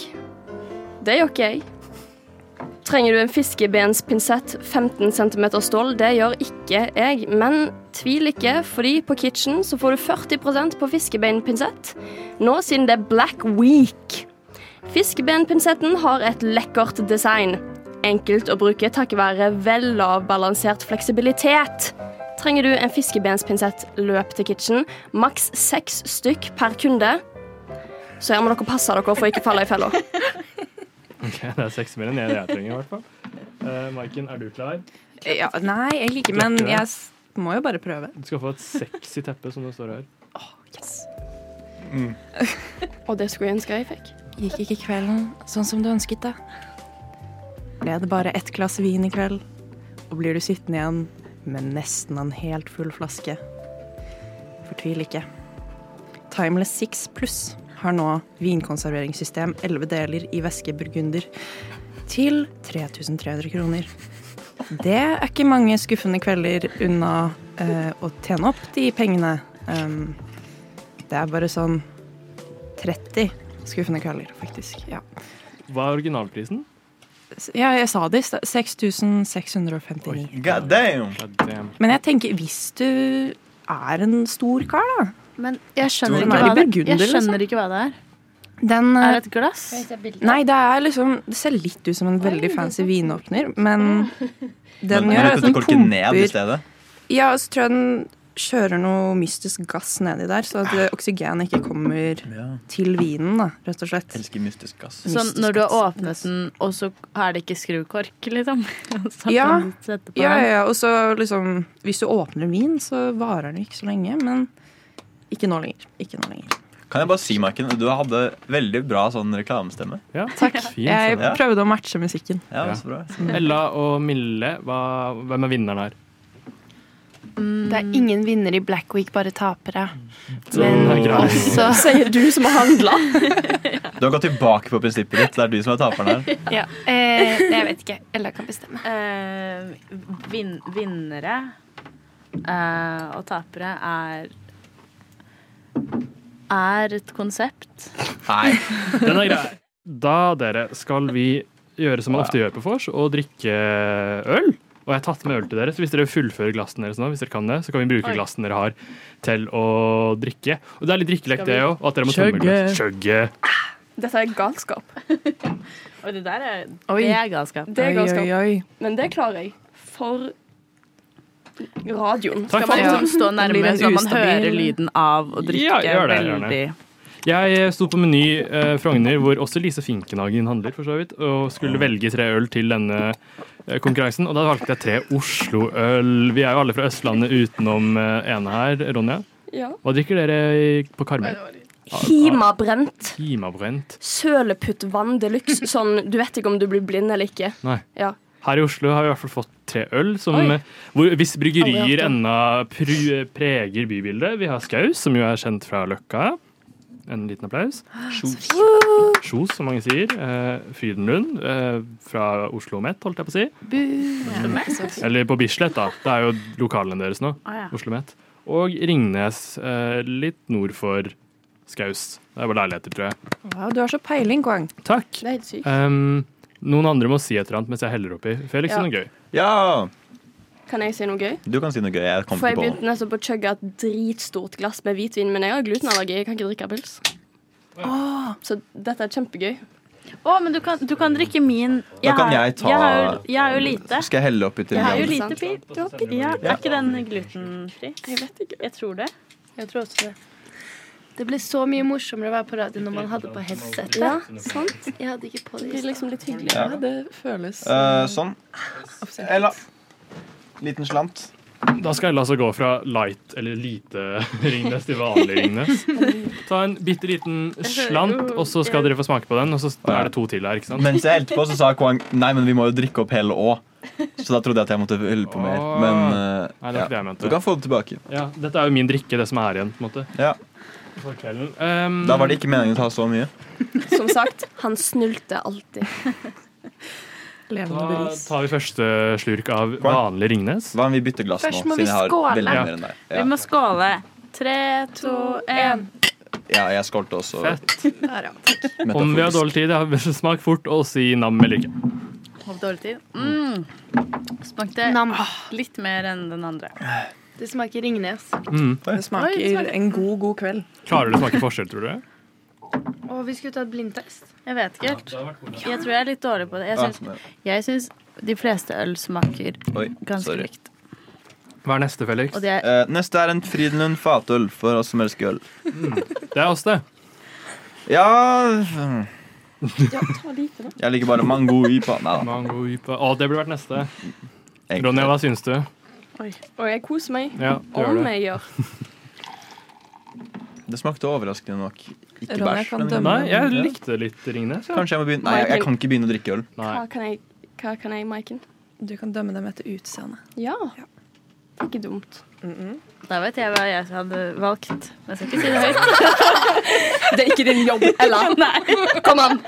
Speaker 4: Det gjør ikke jeg. Trenger du en fiskebenspinsett 15 cm stål? Det gjør ikke jeg, men tvil ikke, fordi på Kitchen så får du 40 på fiskebeinpinsett. Nå siden det er Black Week. Fiskebeinpinsetten har et lekkert design. Enkelt å bruke takket være velavbalansert fleksibilitet. Trenger du en fiskebenspinsett, løp til Kitchen. Maks seks stykk per kunde. Så her må dere passe dere for å ikke falle i fella.
Speaker 2: Ok, det er seks mer enn jeg, jeg trenger, i hvert fall. Eh, Maiken, er du klar?
Speaker 6: Ja, nei, egentlig ikke, men jeg s- må jo bare prøve.
Speaker 2: Du skal få et sexy teppe, som det står her.
Speaker 4: Og det skulle jeg ønske jeg fikk.
Speaker 6: Gikk ikke kvelden sånn som du ønsket det? Ble det bare ett glass vin i kveld, og blir du sittende igjen med nesten en helt full flaske? Fortvil ikke. Timeless 6 Pluss har nå vinkonserveringssystem, 11 deler i væske burgunder, til 3300 kroner. Det er ikke mange skuffende kvelder unna eh, å tjene opp de pengene. Um, det er bare sånn 30 skuffende kvelder, faktisk. Ja.
Speaker 2: Hva er originalprisen?
Speaker 6: S- Ja, jeg sa det i stad. 6659.
Speaker 3: God damn!
Speaker 2: Ja, damn.
Speaker 6: Men jeg tenker, hvis du er en stor kar, da
Speaker 5: Men jeg
Speaker 3: Tror
Speaker 5: skjønner, ikke
Speaker 3: den
Speaker 6: er i
Speaker 5: hva, det
Speaker 6: burgunder,
Speaker 5: er. jeg skjønner ikke hva det er.
Speaker 6: Den
Speaker 5: Er
Speaker 6: eh,
Speaker 5: det et glass?
Speaker 6: Nei, det er liksom Det ser litt ut som en veldig fancy vinåpner, men den
Speaker 3: men, men
Speaker 6: gjør at
Speaker 3: dette
Speaker 6: den
Speaker 3: korker ned i
Speaker 6: pumper
Speaker 3: stedet.
Speaker 6: Ja, og så tror jeg den kjører noe mystisk gass nedi der, så at
Speaker 5: Ah.
Speaker 6: eh, oksygen ikke kommer
Speaker 3: Ja,
Speaker 6: til vinen, da, rett og slett.
Speaker 3: elsker mystisk gass.
Speaker 5: Så
Speaker 6: Mystisk
Speaker 5: Sånn, når du har
Speaker 6: gass.
Speaker 5: åpnet den, og så er det ikke skrukork, liksom? Så
Speaker 6: Ja.
Speaker 5: kan du sette på
Speaker 6: Ja, ja,
Speaker 5: den.
Speaker 6: ja. Og så liksom Hvis du åpner en vin, så varer den ikke så lenge, men ikke nå lenger. Ikke nå lenger.
Speaker 3: Kan jeg bare si, Maiken, du hadde veldig bra sånn reklamestemme.
Speaker 2: Ja, Takk. Fint.
Speaker 6: Jeg
Speaker 3: Ja.
Speaker 6: prøvde å matche musikken.
Speaker 3: Ja,
Speaker 2: Ja.
Speaker 3: så bra.
Speaker 2: Ella og Mille, hva, hvem er vinneren her?
Speaker 7: Det er ingen vinner i Black Week, bare tapere.
Speaker 2: Den er grei.
Speaker 7: Også
Speaker 4: Sier du som har handla.
Speaker 3: Du har gått tilbake på prinsippet ditt. Det er du som er taperen her.
Speaker 7: Ja. Eh, jeg vet ikke. Ella kan bestemme.
Speaker 5: Eh, vin vinnere eh, og tapere er er et konsept.
Speaker 3: Nei.
Speaker 2: Den er grei. Da, dere, skal vi gjøre som man ofte gjør på vors, og drikke øl. Og jeg har tatt med øl til dere, så hvis dere fullfører glassene deres nå, hvis dere kan det, så kan vi bruke
Speaker 5: Oi.
Speaker 2: glassene dere har, til å drikke. Og det er litt drikkelek,
Speaker 5: Skal vi-
Speaker 2: det òg. Og at dere må tømme glass. Skjøgge.
Speaker 4: Dette er galskap.
Speaker 5: Og det der er,
Speaker 6: Oi.
Speaker 5: det er galskap.
Speaker 4: Det er galskap.
Speaker 6: oi.
Speaker 4: Men det klarer jeg. For radioen.
Speaker 2: Takk
Speaker 5: Skal man
Speaker 2: for
Speaker 5: liksom stå
Speaker 6: blir
Speaker 5: nærme
Speaker 6: en
Speaker 5: så man
Speaker 6: ustabil-
Speaker 5: hører lyden av å drikke?
Speaker 2: Ja, gjør det, gjør det.
Speaker 5: veldig
Speaker 2: Jeg sto på Meny eh, Frogner, hvor også Lise Finkenhagen handler, for så vidt, og skulle velge tre øl til denne eh, konkurransen. Og da valgte jeg tre Oslo-øl. Vi er jo alle fra Østlandet utenom eh, ene her, Ronja.
Speaker 4: Ja.
Speaker 2: Hva drikker dere i- på Karmøy?
Speaker 4: Himabrent.
Speaker 2: Timabrent.
Speaker 4: Søleputtvann de luxe. Sånn, du vet ikke om du blir blind eller ikke.
Speaker 2: Nei.
Speaker 4: Ja.
Speaker 2: Her i Oslo har vi i hvert fall fått tre øl, som,
Speaker 4: Oi.
Speaker 2: eh, hvor, hvis
Speaker 4: Aldri
Speaker 2: bryggerier
Speaker 4: hatt det.
Speaker 2: ennå pru- preger bybildet. Vi har Skaus, som jo er kjent fra Løkka. En liten applaus.
Speaker 4: Ah,
Speaker 2: Kjos, som mange sier. Eh, Frydenlund eh, fra Oslo Met, holdt jeg på å si. Eller på Bislett, da. Det er jo lokalene deres nå.
Speaker 4: Ah,
Speaker 5: Å, ja.
Speaker 2: Oslo Met. Og Ringnes, eh, litt nord for Skaus. Det er bare leiligheter, tror jeg.
Speaker 8: Wow, du har så peiling, Kwang.
Speaker 2: Takk.
Speaker 4: Det er helt sykt.
Speaker 2: Um, noen andre må si et eller annet mens jeg heller oppi. Felix,
Speaker 4: Ja.
Speaker 2: er noe gøy.
Speaker 3: Ja,
Speaker 4: Kan jeg si noe gøy?
Speaker 3: du kan si noe gøy. Jeg kom
Speaker 4: For jeg
Speaker 3: ikke på
Speaker 4: begynte nettopp å chugge et dritstort glass med hvitvin, men jeg har glutenallergi. Jeg kan ikke drikke pils. Så dette er kjempegøy.
Speaker 5: Å, men du kan, du kan drikke min.
Speaker 3: Da kan jeg ta-
Speaker 5: jeg har, jo- jeg har jo lite.
Speaker 3: Skal jeg helle oppi til
Speaker 5: Jeg har jo
Speaker 3: den?
Speaker 5: lite pil. Ja, er ikke den glutenfri? Jeg vet ikke. Jeg tror det.
Speaker 7: Jeg tror også det. Det ble så mye morsommere å være på radio når man hadde på headsetet.
Speaker 4: Ja, sant?
Speaker 7: Jeg hadde ikke på
Speaker 4: Det
Speaker 7: det. i
Speaker 4: blir liksom litt hyggelig.
Speaker 3: Ja.
Speaker 6: Det føles
Speaker 3: Eh, sånn.
Speaker 6: offisielt.
Speaker 3: Ella. Liten slant.
Speaker 2: Da skal Ella altså gå fra light, eller lite Ringnes, til vanlig Ringnes. Ta en bitte liten slant, og så skal dere få smake på den. Og så er det to til her, ikke sant?
Speaker 3: Mens jeg helte på, så sa Kwang nei, men vi må jo drikke opp hele òg. Så da trodde jeg at jeg måtte helle på mer. Men eh,
Speaker 2: Nei, det var ikke det
Speaker 3: ja.
Speaker 2: jeg
Speaker 3: du
Speaker 2: mente.
Speaker 3: kan få det tilbake.
Speaker 2: Ja, dette er jo min drikke, det som er igjen, på en måte.
Speaker 3: Ja.
Speaker 2: For kvelden. Um,
Speaker 3: Da var det ikke meningen å ta så mye.
Speaker 4: Som sagt, han snulte alltid.
Speaker 6: levende
Speaker 2: Da
Speaker 6: bevis.
Speaker 2: tar vi første slurk av
Speaker 3: Hva?
Speaker 2: vanlig Ringnes.
Speaker 3: Hva om vi bytter glass nå?
Speaker 7: Først må
Speaker 3: siden
Speaker 7: vi
Speaker 3: jeg har
Speaker 7: skåle.
Speaker 3: veldig
Speaker 2: Ja.
Speaker 3: mer enn deg.
Speaker 5: Vi
Speaker 3: Ja.
Speaker 5: må skåle. Tre, to, én.
Speaker 3: ja, jeg skålte også.
Speaker 2: Fett. Om vi har
Speaker 3: Metaforisk.
Speaker 2: dårlig tid, ja, smak fort og si nam eller ikke.
Speaker 5: Hatt dårlig tid. Mm. Smakte
Speaker 7: Nam.
Speaker 5: litt mer enn den andre.
Speaker 7: Det smaker Ringnes.
Speaker 2: Mm.
Speaker 6: Det smaker en god, god kveld.
Speaker 2: Klarer du å smake forskjell, tror du?
Speaker 7: Å, vi skulle tatt blindtest.
Speaker 5: Jeg vet ikke helt. Jeg tror jeg er litt dårlig på det. Jeg
Speaker 3: Ah,
Speaker 5: syns,
Speaker 3: men-
Speaker 5: jeg syns de fleste øl smaker
Speaker 3: Oi,
Speaker 5: ganske
Speaker 3: sorry.
Speaker 5: likt.
Speaker 2: Hva er neste, Felix?
Speaker 5: Og det er
Speaker 3: Eh, neste er en Frydenlund fatøl for oss som elsker øl.
Speaker 2: Det er oss, det.
Speaker 3: Ja mm,
Speaker 4: Ja, ta lite, da.
Speaker 3: Jeg liker bare mango ipa. Nei da.
Speaker 2: Mango ypa. Å, det burde vært neste.
Speaker 3: egentlig.
Speaker 2: Ronja, hva syns du?
Speaker 4: Og jeg koser meg.
Speaker 2: Ja, du gjør det.
Speaker 4: Om jeg gjør.
Speaker 3: Det smakte overraskende nok ikke
Speaker 6: Ronja
Speaker 3: bæsj.
Speaker 6: kan
Speaker 3: men-
Speaker 6: dømme.
Speaker 2: Nei, jeg likte litt Ringnes. Ja.
Speaker 3: Kanskje jeg må begynne Nei, jeg, jeg kan ikke begynne å drikke øl.
Speaker 2: Nei.
Speaker 4: Hva kan jeg, hva kan jeg Maiken?
Speaker 6: Du kan dømme dem etter utseende.
Speaker 4: Ja. Ikke dumt.
Speaker 5: Da vet jeg hva jeg hadde valgt. Men Jeg skal ikke si det høyt.
Speaker 4: Det er ikke din jobb, Ella.
Speaker 5: Nei.
Speaker 4: Kom an.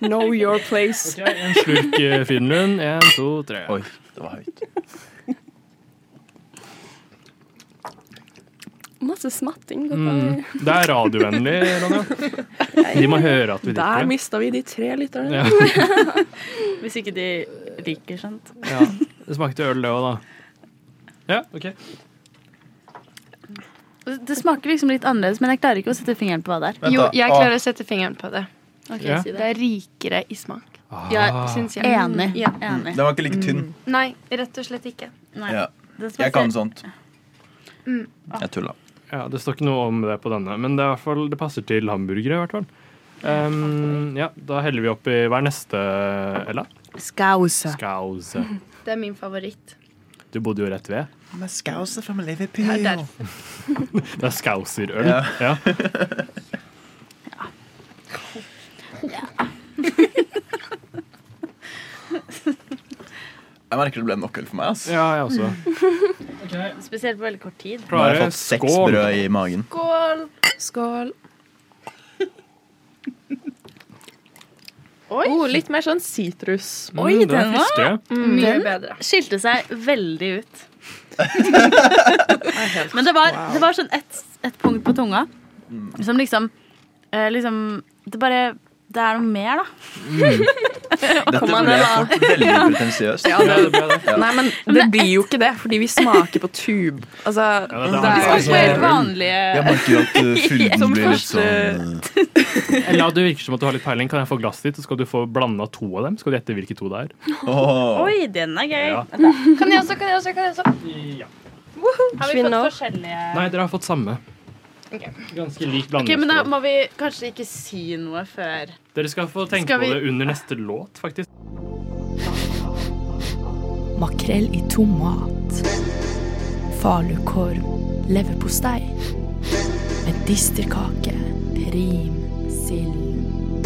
Speaker 4: Know your place.
Speaker 2: Ok, En slurk eh, Finlund. En, to, tre.
Speaker 3: Oi, det var høyt.
Speaker 4: Masse smatting. går
Speaker 2: Mm.
Speaker 4: på.
Speaker 2: Det er radiovennlig, Ronja. De må høre at vi
Speaker 6: Der
Speaker 2: drikker.
Speaker 6: mista vi de tre lytterne.
Speaker 2: Ja,
Speaker 5: Hvis ikke de liker sånt.
Speaker 2: ja. Det smakte øl, det òg, da. Ja, OK.
Speaker 5: Det smaker liksom litt annerledes, men jeg klarer ikke å sette fingeren på hva det er.
Speaker 3: Vent
Speaker 7: Jo,
Speaker 3: da.
Speaker 7: jeg
Speaker 3: Å,
Speaker 7: klarer å sette fingeren på det.
Speaker 5: Ok,
Speaker 2: Ja.
Speaker 5: si
Speaker 7: Det
Speaker 5: det.
Speaker 7: er rikere i smak.
Speaker 2: Ah.
Speaker 7: Syns jeg.
Speaker 5: Enig.
Speaker 7: Ja.
Speaker 3: Den
Speaker 5: Enig.
Speaker 3: var ikke like tynn.
Speaker 7: Nei, rett og slett ikke.
Speaker 5: Nei.
Speaker 3: Ja.
Speaker 5: Det
Speaker 3: Jeg kan
Speaker 5: smaker
Speaker 3: sånt. Jeg tulla.
Speaker 2: Ja, Det står ikke noe om det på denne, men det, er i hvert fall, det passer til hamburgere. i hvert fall. Um, ja, Da heller vi opp i hver neste, Ella.
Speaker 5: skause.
Speaker 2: Skause.
Speaker 7: Det er min favoritt.
Speaker 2: Du bodde jo rett ved.
Speaker 3: Men skause fra Liverpool.
Speaker 2: Det er skauserøl.
Speaker 3: Ja.
Speaker 2: Ja.
Speaker 3: Jeg merker det ble nok øl for meg. ass.
Speaker 2: ja, jeg også.
Speaker 5: Spesielt på veldig kort tid.
Speaker 3: Nå har jeg
Speaker 2: Klare.
Speaker 3: fått seks brød i magen.
Speaker 6: Skål.
Speaker 5: Oi,
Speaker 8: Oh, litt mer sånn sitrus.
Speaker 5: Oi,
Speaker 2: Mm, det
Speaker 5: den var-
Speaker 2: friskere.
Speaker 7: Mye bedre.
Speaker 5: skilte seg veldig ut. Men det var, det var sånn ett et punkt på tunga som liksom, eh, liksom Det bare Det er noe mer, da.
Speaker 3: Dette
Speaker 8: Kom an,
Speaker 3: ble
Speaker 8: da.
Speaker 3: fort veldig pretensiøst.
Speaker 6: Ja, det-
Speaker 3: Ja.
Speaker 6: Mm. Nei, men det blir jo ikke det, fordi vi smaker på tube. Altså,
Speaker 2: Ja, det er
Speaker 6: det
Speaker 2: vanlig.
Speaker 6: er
Speaker 2: Smak på helt
Speaker 3: Jeg
Speaker 5: vanlige
Speaker 3: merker at uh, fylden
Speaker 6: Som
Speaker 3: blir litt
Speaker 6: første-
Speaker 3: sånn uh,
Speaker 2: La det virke som at du har litt peiling. Kan jeg få glasset ditt, så skal du få blanda to av dem? Skal du gjette hvilke to det er?
Speaker 3: åh.
Speaker 5: Oi, den er gøy.
Speaker 2: Ja.
Speaker 5: Vent da.
Speaker 7: Kan jeg også, kan jeg også, kan jeg også?
Speaker 5: Har vi fått forskjellige
Speaker 2: Nei, dere har fått samme. Ganske lik
Speaker 5: Ok, Men da
Speaker 2: blandingsskole.
Speaker 5: må vi kanskje ikke si noe før
Speaker 2: Dere skal få tenke
Speaker 5: Skal vi-
Speaker 2: på det under neste låt, faktisk.
Speaker 9: Makrell i tomat. Falukorv. Leverpostei. Medisterkake. Rim. Sild.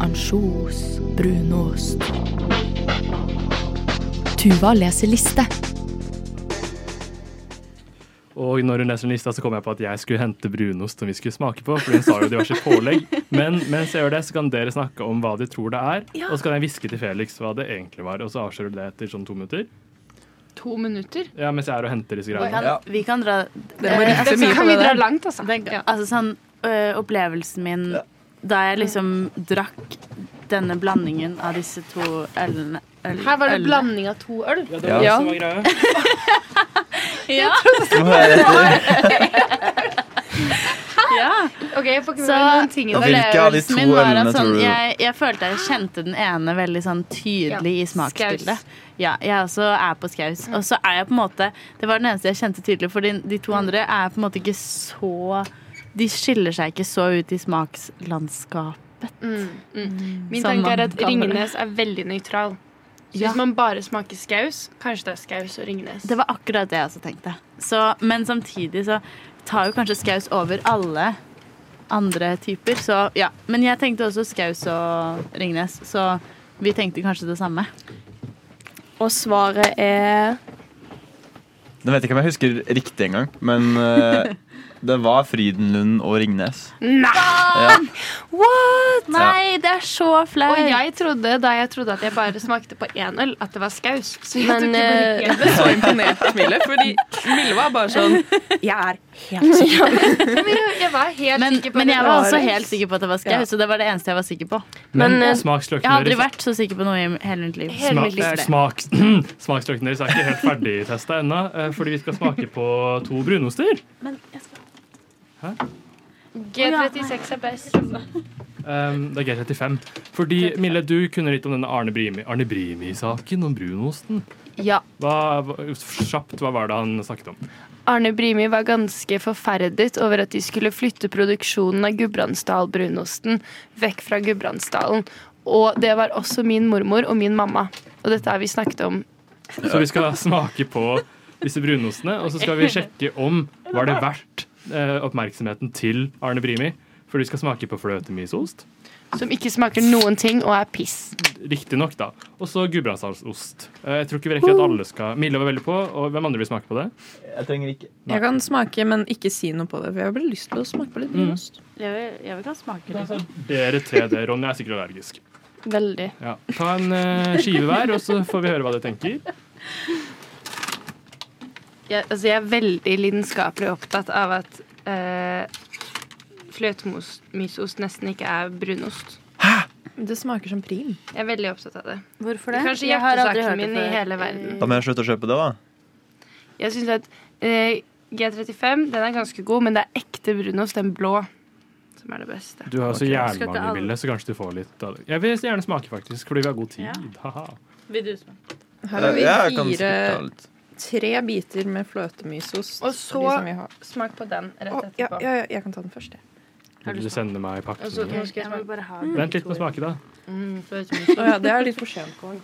Speaker 9: Ansjos. Brunost. Tuva leser liste.
Speaker 2: Og når hun leser den lista, så kom jeg på at jeg skulle hente brunost som vi skulle smake på. For hun sa jo diverse pålegg. Men mens jeg gjør det, så kan dere snakke om hva de tror det er. Og så kan jeg hviske til Felix hva det egentlig var, og så avslører du det etter sånn to minutter.
Speaker 7: To minutter?
Speaker 2: Ja, mens jeg er og henter disse
Speaker 5: Vi
Speaker 2: greiene.
Speaker 5: kan,
Speaker 3: Ja.
Speaker 5: vi kan dra
Speaker 6: Det må
Speaker 5: eh,
Speaker 6: riffe mye på
Speaker 7: Kan vi
Speaker 6: det
Speaker 7: dra
Speaker 6: der.
Speaker 7: langt, altså?
Speaker 5: den,
Speaker 7: Ja.
Speaker 5: Altså sånn ø, Opplevelsen min da jeg liksom drakk denne blandingen av disse to ølene øl-
Speaker 7: Her var det
Speaker 5: ølene.
Speaker 7: blanding av to øl.
Speaker 2: Ja,
Speaker 3: var
Speaker 2: ja.
Speaker 3: Ja.
Speaker 5: Ja. ja.
Speaker 7: Ok, jeg får ikke med
Speaker 5: Så
Speaker 7: meg noen ting i
Speaker 3: Og
Speaker 7: dag.
Speaker 3: hvilke av de
Speaker 5: opplevelsen
Speaker 3: to
Speaker 5: min var at
Speaker 3: ølene
Speaker 5: sånn,
Speaker 3: tror du
Speaker 5: jeg, jeg følte jeg kjente den ene veldig sånn tydelig i smaksbildet. Ja, jeg også er på skaus. Og så er jeg på en måte Det var den eneste jeg kjente tydelig, for de, de to andre er på en måte ikke så De skiller seg ikke så ut i smakslandskap.
Speaker 7: Mm, mm. Min
Speaker 5: Som
Speaker 7: tanke er
Speaker 5: man
Speaker 7: at
Speaker 5: kaller det.
Speaker 7: Ringnes er veldig nøytral. Så
Speaker 5: Ja.
Speaker 7: hvis man bare smaker skaus, kanskje det er skaus og Ringnes.
Speaker 5: Det var akkurat det jeg også tenkte. Så, men samtidig så tar jo kanskje skaus over alle andre typer, så ja. Men jeg tenkte også skaus og Ringnes, så vi tenkte kanskje det samme.
Speaker 4: Og svaret er
Speaker 3: Nå vet jeg ikke om jeg husker riktig engang, men eh, det var Frydenlund og Ringnes. Ja.
Speaker 5: What? Nei, det er så flaut.
Speaker 7: Og jeg trodde, da jeg trodde at jeg bare smakte på én øl, at det var skaus. Så jeg
Speaker 4: Men,
Speaker 7: tok det bare
Speaker 4: eh,
Speaker 7: helt-
Speaker 6: Jeg ble så imponert av Mille, fordi Mille var bare sånn Jeg er helt sikker.
Speaker 7: Men jeg- jeg var helt
Speaker 5: men,
Speaker 7: sikker på
Speaker 5: men
Speaker 7: det.
Speaker 5: jeg var også helt sikker på at det var skaus,
Speaker 6: Ja.
Speaker 5: så det var det eneste jeg var sikker på.
Speaker 2: Men,
Speaker 4: Men, eh,
Speaker 5: Jeg har
Speaker 2: smaksløkene
Speaker 5: aldri
Speaker 2: deres
Speaker 5: vært så sikker på noe i hele mitt liv.
Speaker 7: Hele mitt liv
Speaker 2: Smak,
Speaker 7: er det.
Speaker 2: smak, smaksløkene deres er ikke helt ferdigtesta ennå, eh, fordi vi skal smake på to brunoster.
Speaker 7: G36 er best.
Speaker 2: Um, det er G35. Fordi, Mille, du kunne litt om denne Arne Brimi- Arne Brimi-saken, om brunosten.
Speaker 7: Ja.
Speaker 2: Hva, hva- kjapt, hva var det han snakket om?
Speaker 7: Arne Brimi var ganske forferdet over at de skulle flytte produksjonen av Gudbrandsdal-brunosten vekk fra Gudbrandsdalen. Og det var også min mormor og min mamma. Og dette har vi snakket om.
Speaker 2: Så vi skal smake på disse brunostene, og så skal vi sjekke om var det verdt eh, oppmerksomheten til Arne Brimi. For vi skal smake på fløtemysost.
Speaker 7: Som ikke smaker noen ting og er piss.
Speaker 2: Riktignok, da. Og så gudbrandsdalsost. Eh, jeg tror ikke vi rekker at alle skal Mille var veldig på, og hvem andre vil smake på det?
Speaker 3: Jeg trenger ikke
Speaker 6: Jeg kan smake, men ikke si noe på det. For jeg har lyst til å smake på litt brunost.
Speaker 5: Jeg vil, jeg vil kan smake litt.
Speaker 2: Dere tre der. Ronny er sikkert allergisk.
Speaker 4: veldig.
Speaker 2: Ja. Ta en eh, skive hver, og så får vi høre hva dere tenker.
Speaker 7: Jeg, altså, jeg er veldig lidenskapelig opptatt av at eh, fløtemysost nesten ikke er brunost.
Speaker 6: Det smaker som prim.
Speaker 7: Jeg er veldig opptatt av det.
Speaker 5: Hvorfor
Speaker 7: Kanskje
Speaker 5: Jeg har aldri hørt
Speaker 7: hjertesaken
Speaker 5: det
Speaker 7: min i
Speaker 5: før.
Speaker 7: hele verden.
Speaker 3: Da må jeg slutte å kjøpe det, da.
Speaker 7: Jeg syns at eh, G35 den er ganske god, men det er ekte brunost, den blå, som er det beste.
Speaker 2: Du har også
Speaker 5: Skal ikke alle-
Speaker 2: jernmangemille, så kanskje du får litt av det. Jeg vil gjerne smake, faktisk, fordi vi har god tid.
Speaker 5: Ja.
Speaker 2: Haha.
Speaker 5: Vil du smake?
Speaker 6: Her har vi
Speaker 3: Jeg kan
Speaker 6: fire,
Speaker 3: sikkert ta litt.
Speaker 6: tre biter med fløtemysost.
Speaker 7: Og så-
Speaker 6: de som vi har.
Speaker 7: Smak på den
Speaker 6: Å,
Speaker 7: rett
Speaker 6: ja,
Speaker 7: etterpå.
Speaker 6: ja, ja, jeg kan ta den først. jeg.
Speaker 2: Vil du sende meg
Speaker 7: Og
Speaker 5: Altså,
Speaker 7: så
Speaker 2: pakken?
Speaker 7: nå skal jeg smake.
Speaker 5: bare ha
Speaker 2: Vent litt med å smake, da.
Speaker 6: Å ja, det er litt for sent. på gang.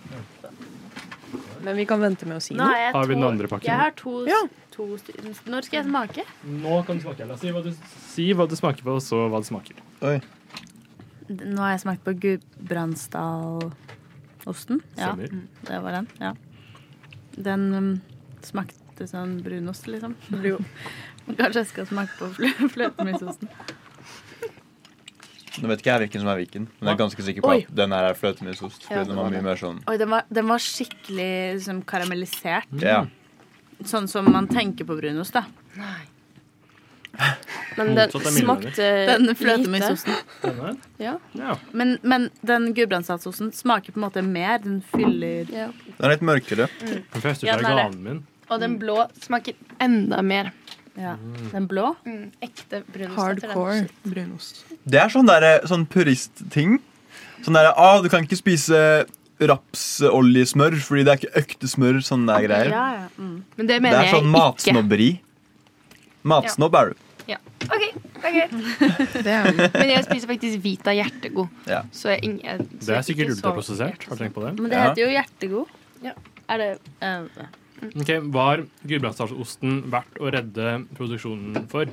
Speaker 6: Men vi kan vente med å si
Speaker 5: Nå
Speaker 6: noe.
Speaker 5: har jeg
Speaker 2: Har vi den
Speaker 5: to-
Speaker 2: andre pakken?
Speaker 5: Jeg har to,
Speaker 6: Ja.
Speaker 5: to stykker. Når skal jeg smake?
Speaker 2: Nå kan du smake. Ella. Si hva du, si hva du smaker på, og så hva det smaker.
Speaker 3: Oi.
Speaker 5: Nå har jeg smakt på Gudbrandsdal-osten. Ja, Mm,
Speaker 2: Stemmer.
Speaker 5: det var den. Ja. Den um, smakte sånn brunost, liksom. Kanskje jeg skal smake på flø fløtemysosten.
Speaker 3: Nå vet ikke jeg hvilken som er hvilken, men jeg er ganske sikker på
Speaker 5: Oi.
Speaker 3: at den her er fløtemysost. Fordi
Speaker 5: Ja,
Speaker 3: den var mye mer sånn
Speaker 5: Oi, den var, den var skikkelig liksom, karamellisert.
Speaker 3: Ja.
Speaker 5: Sånn som man tenker på brunost, da.
Speaker 4: Men den
Speaker 2: Motsatt er mildere.
Speaker 4: smakte
Speaker 5: Den
Speaker 4: lite.
Speaker 5: fløtemysosten.
Speaker 2: Denne?
Speaker 4: Ja.
Speaker 2: ja.
Speaker 5: Men, men den gudbrandsdalsosten smaker på en måte mer. Den fyller
Speaker 4: Ja.
Speaker 3: Den er litt mørkere.
Speaker 2: Den fester
Speaker 5: Ja,
Speaker 2: seg i
Speaker 5: den er det.
Speaker 2: ganen min.
Speaker 7: Og den blå smaker enda mer.
Speaker 5: ja.
Speaker 2: Mm.
Speaker 5: Den blå.
Speaker 7: Ekte brunost.
Speaker 6: Hardcore brunost.
Speaker 3: Det er sånn, der, sånn puristting. Sånn derre ah, Du kan ikke spise rapsoljesmør fordi det er ikke økte smør. Sånne der greier.
Speaker 5: Ja, ja. Mm.
Speaker 7: Men det
Speaker 3: Det
Speaker 7: mener
Speaker 3: er sånn
Speaker 7: jeg ikke.
Speaker 3: matsnobberi. Matsnobb er du.
Speaker 7: Ok, det er greit.
Speaker 6: Det er jo
Speaker 7: Men jeg spiser faktisk Vita hjertegod.
Speaker 3: Ja.
Speaker 7: Så jeg, ing- jeg, så
Speaker 2: Det
Speaker 7: jeg
Speaker 2: er sikkert
Speaker 7: ikke så-
Speaker 2: ultraprosessert. Har du tenkt på det?
Speaker 5: Men det
Speaker 3: Ja.
Speaker 5: heter jo hjertegod.
Speaker 7: Ja.
Speaker 5: Er det eh,
Speaker 2: Ok, Var Gudbrandsdalsosten verdt å redde produksjonen for?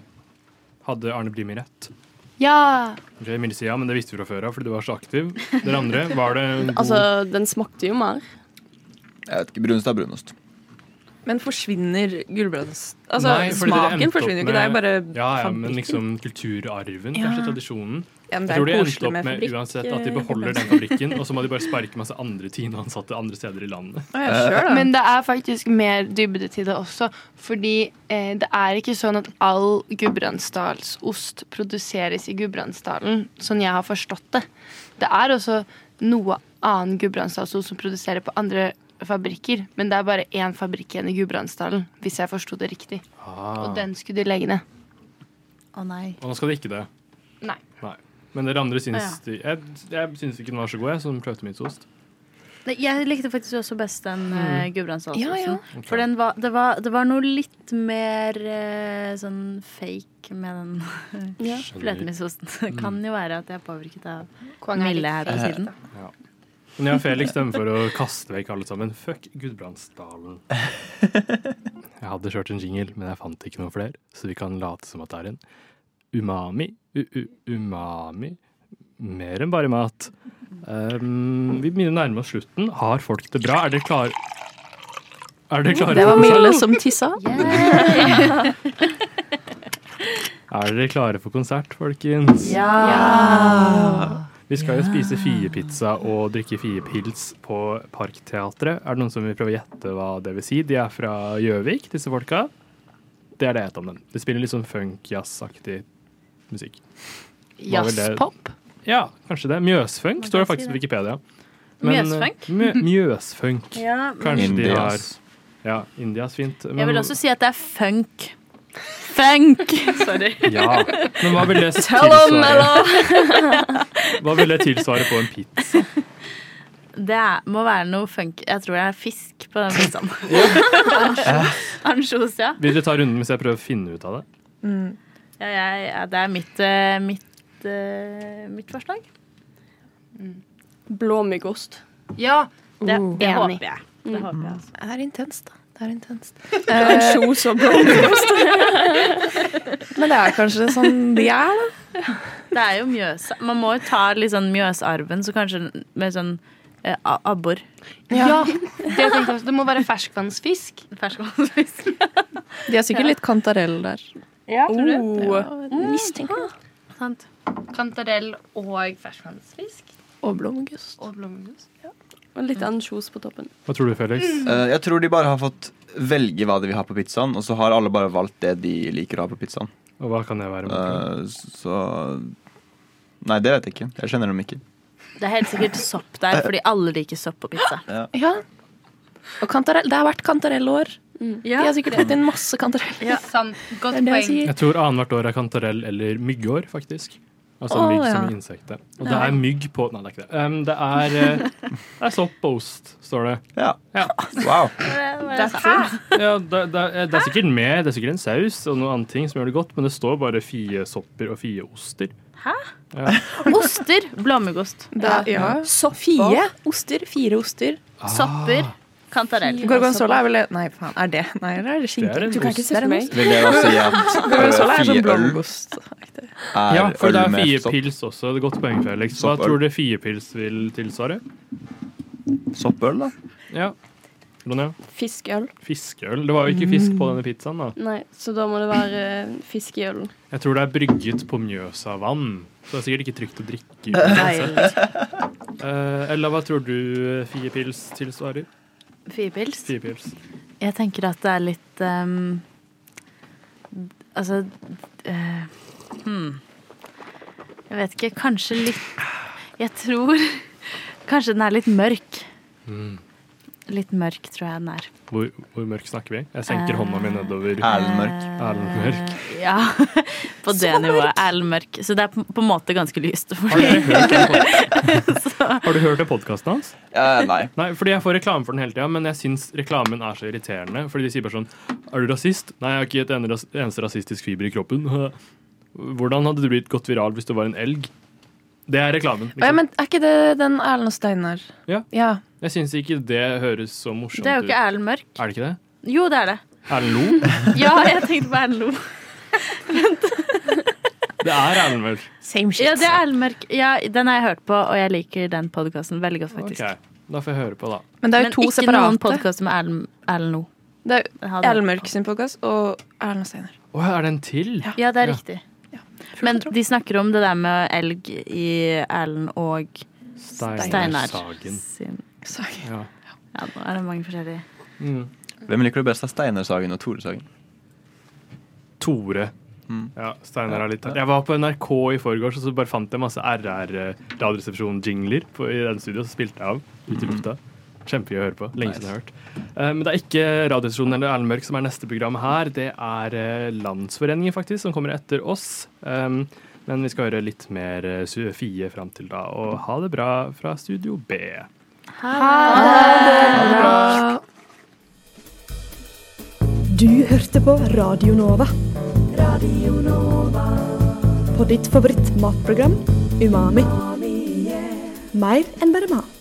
Speaker 2: Hadde Arne Blimi rett?
Speaker 7: Ja!
Speaker 2: Ok, Mille sier ja, men det visste vi fra før av fordi du var så aktiv. Dere andre, var det en god
Speaker 4: Altså, den smakte jo mer.
Speaker 3: Jeg vet ikke, Brunost er brunost.
Speaker 6: Men forsvinner gulbrands... Altså,
Speaker 2: Nei, fordi dere endte
Speaker 6: smaken
Speaker 2: opp
Speaker 6: forsvinner jo ikke.
Speaker 2: med-
Speaker 6: Det er jo bare
Speaker 2: Ja, ja, men
Speaker 6: fabrikken.
Speaker 2: liksom kulturarven,
Speaker 6: Ja.
Speaker 2: kanskje tradisjonen.
Speaker 6: Ja,
Speaker 2: Jeg
Speaker 6: men det er
Speaker 2: tror de endte
Speaker 6: koselig
Speaker 2: opp
Speaker 6: med
Speaker 2: med
Speaker 6: fabrikk. eh,
Speaker 2: uansett at de beholder den fabrikken, og så må de bare sparke masse andre TINE-ansatte andre steder i landet.
Speaker 6: Å, ja, sure, da.
Speaker 7: Men det er faktisk mer dybde til det også. Fordi eh, det er ikke sånn at all gudbrandsdalsost produseres i Gudbrandsdalen, sånn jeg har forstått det. Det er også noe annen gudbrandsdalsost som produserer på andre fabrikker, men det er bare én fabrikk igjen i Gudbrandsdalen, hvis jeg forsto det riktig.
Speaker 2: Ah.
Speaker 7: Og den skulle de legge ned.
Speaker 5: Å nei.
Speaker 2: Og nå skal de ikke det.
Speaker 7: Nei.
Speaker 2: Men dere andre syns
Speaker 5: Ah,
Speaker 2: de Jeg, jeg syns ikke den var så god, jeg, som fløtemysost.
Speaker 5: Nei, Jeg likte faktisk også best den uh, gudbrandsdalsosten.
Speaker 7: Ja, ja.
Speaker 2: Ok.
Speaker 5: For den var, det, var, det var noe litt mer eh, sånn fake med den fløtemysosten. Det
Speaker 2: Mm.
Speaker 5: kan jo være at jeg er påvirket av Mille
Speaker 2: Eh,
Speaker 5: her på siden.
Speaker 2: Men jeg og Felix stemmer for å kaste vekk alle sammen. Fuck Gudbrandsdalen. Jeg hadde kjørt en jingle, men jeg fant ikke noen flere, så vi kan late som at det er en umami. U-u-umami. Mer enn bare mat. Um, vi begynner å nærme oss slutten. Har folk det bra? Er dere klare? Er dere klare?
Speaker 4: Det var Mille som tissa.
Speaker 2: Er dere klare for konsert, folkens?
Speaker 5: Ja!
Speaker 2: Vi skal jo spise fiepizza og drikke fiepils på Parkteatret. Er det noen som vil prøve å gjette hva det vil si? De er fra Gjøvik, disse folka. Det er det jeg vet om dem. De spiller litt sånn funk-jazz-aktig musikk. Hva vil det-
Speaker 7: Jazzpop?
Speaker 2: Ja, kanskje det. Mjøsfunk står det faktisk på Wikipedia. eh,
Speaker 5: Mjøsfunk?
Speaker 2: Mjø mjøsfunk.
Speaker 5: Ja, men
Speaker 2: Kanskje de har
Speaker 3: Indias.
Speaker 2: Ja, Indias fint. Men,
Speaker 5: jeg vil også si at det er funk. Funk! Sorry.
Speaker 2: ja. men hva vil det
Speaker 4: Hello,
Speaker 2: tilsvare? Hva vil det tilsvare på en pizza?
Speaker 5: Det er, må være noe funk. Jeg tror det er fisk på den pizzaen. Ansjos, ja.
Speaker 2: Vil dere ta runden mens jeg prøver å finne ut av det?
Speaker 6: Mm.
Speaker 5: Ja, jeg, ja. Det er mitt, eh, mitt, eh, mitt forslag.
Speaker 4: Blåmyggost.
Speaker 7: Ja.
Speaker 5: Det,
Speaker 6: Oh.
Speaker 5: det
Speaker 7: Enig.
Speaker 5: håper jeg.
Speaker 6: Mm.
Speaker 5: Det håper jeg altså.
Speaker 6: Det er intenst, da. Det er intenst.
Speaker 4: Ansjos og blåmyggost.
Speaker 6: Men det er kanskje sånn de er, da.
Speaker 5: Det er jo Mjøs. Man må jo ta litt sånn Mjøsarven, så kanskje med sånn eh, a- abbor.
Speaker 7: ja. Det, tenkte jeg også. det må være ferskvannsfisk.
Speaker 5: Ferskvannsfisk.
Speaker 6: De har sikkert litt kantarell der. Oh,
Speaker 5: Ja, tror du?
Speaker 7: Oh.
Speaker 6: Og,
Speaker 4: Mistenker.
Speaker 5: Sant.
Speaker 7: Kantarell og ferskvannsfisk.
Speaker 6: og blåmuggost.
Speaker 7: Og blåmuggost.
Speaker 4: Og litt ansjos på toppen.
Speaker 2: Hva tror du, Felix?
Speaker 3: Eh, jeg tror de bare har fått velge hva de vil ha på pizzaen, og så har alle bare valgt det de liker å ha på pizzaen.
Speaker 2: Og hva kan det være? Martin?
Speaker 3: Eh, så Nei, det vet jeg ikke. Jeg kjenner dem ikke.
Speaker 5: Det er helt sikkert sopp der, fordi alle liker sopp på pizza.
Speaker 6: Ja. Og kantarell. Det har vært kantarellår.
Speaker 4: Mm.
Speaker 6: De
Speaker 4: altså
Speaker 6: har sikkert fått inn masse kantarell.
Speaker 7: Ja. Sant. Godt
Speaker 6: Det er det jeg
Speaker 7: poeng.
Speaker 6: sier.
Speaker 2: Jeg tror annethvert år er kantarell eller myggår, faktisk. Altså
Speaker 6: Å,
Speaker 2: mygg som
Speaker 6: ja.
Speaker 2: insekt. ja. Og det er mygg på Nei, det er ikke det. Um, det, er, eh, det er sopp og ost, står det.
Speaker 3: Ja.
Speaker 2: Ja,
Speaker 3: Wow.
Speaker 2: ja det, det, er- det er sikkert mer. Det er sikkert en saus og noen andre ting som gjør det godt, men det står bare fiesopper og fieoster.
Speaker 5: Oster. Blåmuggost.
Speaker 6: Ja.
Speaker 4: Sofie.
Speaker 6: Oster. Fire oster.
Speaker 5: Sopper.
Speaker 2: Ah.
Speaker 5: Kantarell.
Speaker 6: Gorgonzola er vel Nei, faen. Er det Nei, eller er det
Speaker 2: Det er
Speaker 6: skinke?
Speaker 2: en
Speaker 6: Du kan ikke
Speaker 2: ost.
Speaker 6: se for meg.
Speaker 3: Vil dere også si at
Speaker 6: Gorgonzola
Speaker 3: eh,
Speaker 6: er sånn
Speaker 3: fieøl
Speaker 6: blåmuggost.
Speaker 3: er
Speaker 2: Ja, for det
Speaker 3: øl
Speaker 2: er
Speaker 3: med sopp?
Speaker 2: fiepils også. Det er Godt poeng, Felix. Hva
Speaker 3: Soppøl.
Speaker 2: tror du fiepils vil tilsvare?
Speaker 3: Soppøl, da?
Speaker 2: Ja. Ronja?
Speaker 4: Fiskeøl.
Speaker 2: Fiskeøl. Det var jo ikke fisk på denne pizzaen, da.
Speaker 4: Nei, så da må det være eh, fisk i ølen.
Speaker 2: Jeg tror det er brygget på Mjøsavann, så det er sikkert ikke trygt å drikke. uansett. Eh, Ella, hva tror du eh, Fiepils tilsvarer?
Speaker 5: Fiepils.
Speaker 2: Fiepils.
Speaker 5: Jeg tenker at det er litt ehm, Altså eh, Jeg vet ikke, kanskje litt Jeg tror kanskje den er litt mørk. Litt mørk tror jeg den er.
Speaker 2: Hvor, hvor mørk snakker vi? Jeg senker hånda mi nedover.
Speaker 3: Erlend Mørk.
Speaker 2: Erlend Mørk.
Speaker 5: Eh, Ja, på det nivået. Erlend Mørk. Så det er på på en måte ganske lyst.
Speaker 2: Har dere hørt den pod- Har du hørt den podkasten hans?
Speaker 3: Eh, nei.
Speaker 2: Nei, fordi jeg får reklame for den hele tida, men jeg syns reklamen er så irriterende. Fordi de sier bare sånn Er du rasist? Nei, jeg har ikke et ene ras- eneste rasistisk fiber i kroppen. Hvordan hadde du blitt gått viral hvis du var en elg? Det er reklamen.
Speaker 8: Ja,
Speaker 2: Liksom.
Speaker 8: men er ikke det den Erlend og Steinar?
Speaker 2: Ja.
Speaker 8: ja.
Speaker 2: Jeg syns ikke det høres så morsomt
Speaker 5: Det er
Speaker 2: ut.
Speaker 5: jo ikke Erlend Mørk.
Speaker 2: Er det ikke det?
Speaker 5: Jo, det er det.
Speaker 2: Erlend Lo?
Speaker 5: Ja, jeg tenkte på Erlend Lo.
Speaker 2: Det er Erlend Mørk.
Speaker 5: Same shit. Ja, det er Erlend Mørk. Ja, den har jeg hørt på, og jeg liker den podkasten veldig godt, faktisk.
Speaker 2: Ok, Da får jeg høre på, da.
Speaker 8: Men det er
Speaker 5: Men
Speaker 8: jo to
Speaker 5: ikke noen
Speaker 8: separate.
Speaker 5: podkaster med Erlend- Erlend Lo.
Speaker 8: Det er
Speaker 5: Den hadde-
Speaker 8: Erlend Mørk sin podkast og Erlend og Steinar.
Speaker 2: Å, er det en til? Ja.
Speaker 5: Ja, det er riktig. Men de snakker om det der med elg i Erlend og Steinar
Speaker 2: Steinar Sagen.
Speaker 5: sin
Speaker 8: Sorry.
Speaker 2: Ja.
Speaker 5: Ja, nå er det mange forskjellige.
Speaker 2: Mm.
Speaker 3: Hvem liker du best av Steinar Sagen og Tore Sagen?
Speaker 2: Tore.
Speaker 3: Mm.
Speaker 2: Ja, Steinar er litt Jeg var på NRK i forgårs, og så bare fant jeg masse RR-radioresepsjon-jingler på- i den studioet, så spilte jeg av ut i lufta. Kjempegøy å høre på. Lenge siden jeg har hørt. Eh, Men det er ikke Radioresepsjonen eller Erlend Mørk som er neste program her. Det er eh, Landsforeningen, faktisk, som kommer etter oss. Um, Men vi skal høre litt mer eh, Sofie fram til da. Og ha det bra fra Studio B.
Speaker 9: Du hørte på Radio Nova. På ditt favoritt matprogram, Umami. Mer enn bare mat.